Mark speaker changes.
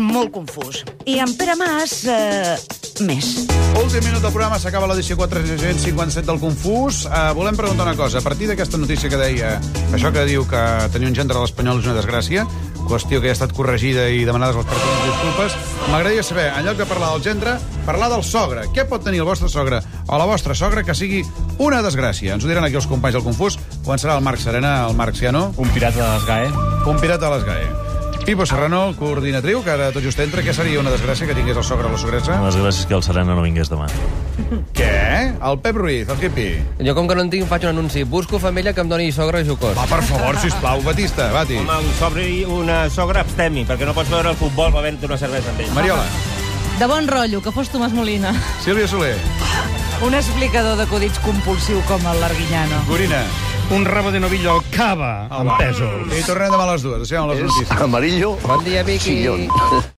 Speaker 1: molt confús. I en Pere Mas, eh, més.
Speaker 2: Últim minut del programa, s'acaba l'edició 457 del Confús. Uh, volem preguntar una cosa. A partir d'aquesta notícia que deia, això que diu que tenir un gendre a l'Espanyol és una desgràcia, qüestió que ja ha estat corregida i demanades als partits disculpes, m'agradaria saber, en lloc de parlar del gendre, parlar del sogre. Què pot tenir el vostre sogre o la vostra sogra que sigui una desgràcia? Ens ho diran aquí els companys del Confús. Començarà el Marc Serena, el Marc Ciano,
Speaker 3: Un pirata de les GAE.
Speaker 2: un pirata de les GAE. Pipo Serrano, el coordinatriu, que ara tot just entra. Què seria una desgràcia que tingués el sogre o la sogressa?
Speaker 4: Les gràcies que el Serena no vingués demà.
Speaker 2: Què? El Pep Ruiz, el Quipi.
Speaker 5: Jo, com que no en tinc, faig un anunci. Busco família que em doni sogra jocós.
Speaker 2: Va, per favor, sisplau, Batista, bati.
Speaker 3: Home, un sobre i una sogra abstemi, perquè no pots veure el futbol bevent una cervesa amb ell.
Speaker 2: Mariola,
Speaker 6: De bon rotllo, que fos Tomàs Molina.
Speaker 2: Sílvia Soler,
Speaker 7: Un explicador d'acudits compulsiu com el Larguinyano.
Speaker 2: Gorina.
Speaker 8: Un rabo de novillo al cava, amb pèsols.
Speaker 2: I tornem demà a les dues. Deixem les notícies.
Speaker 9: Amarillo,
Speaker 5: Bon dia, Vicky.
Speaker 9: sillón.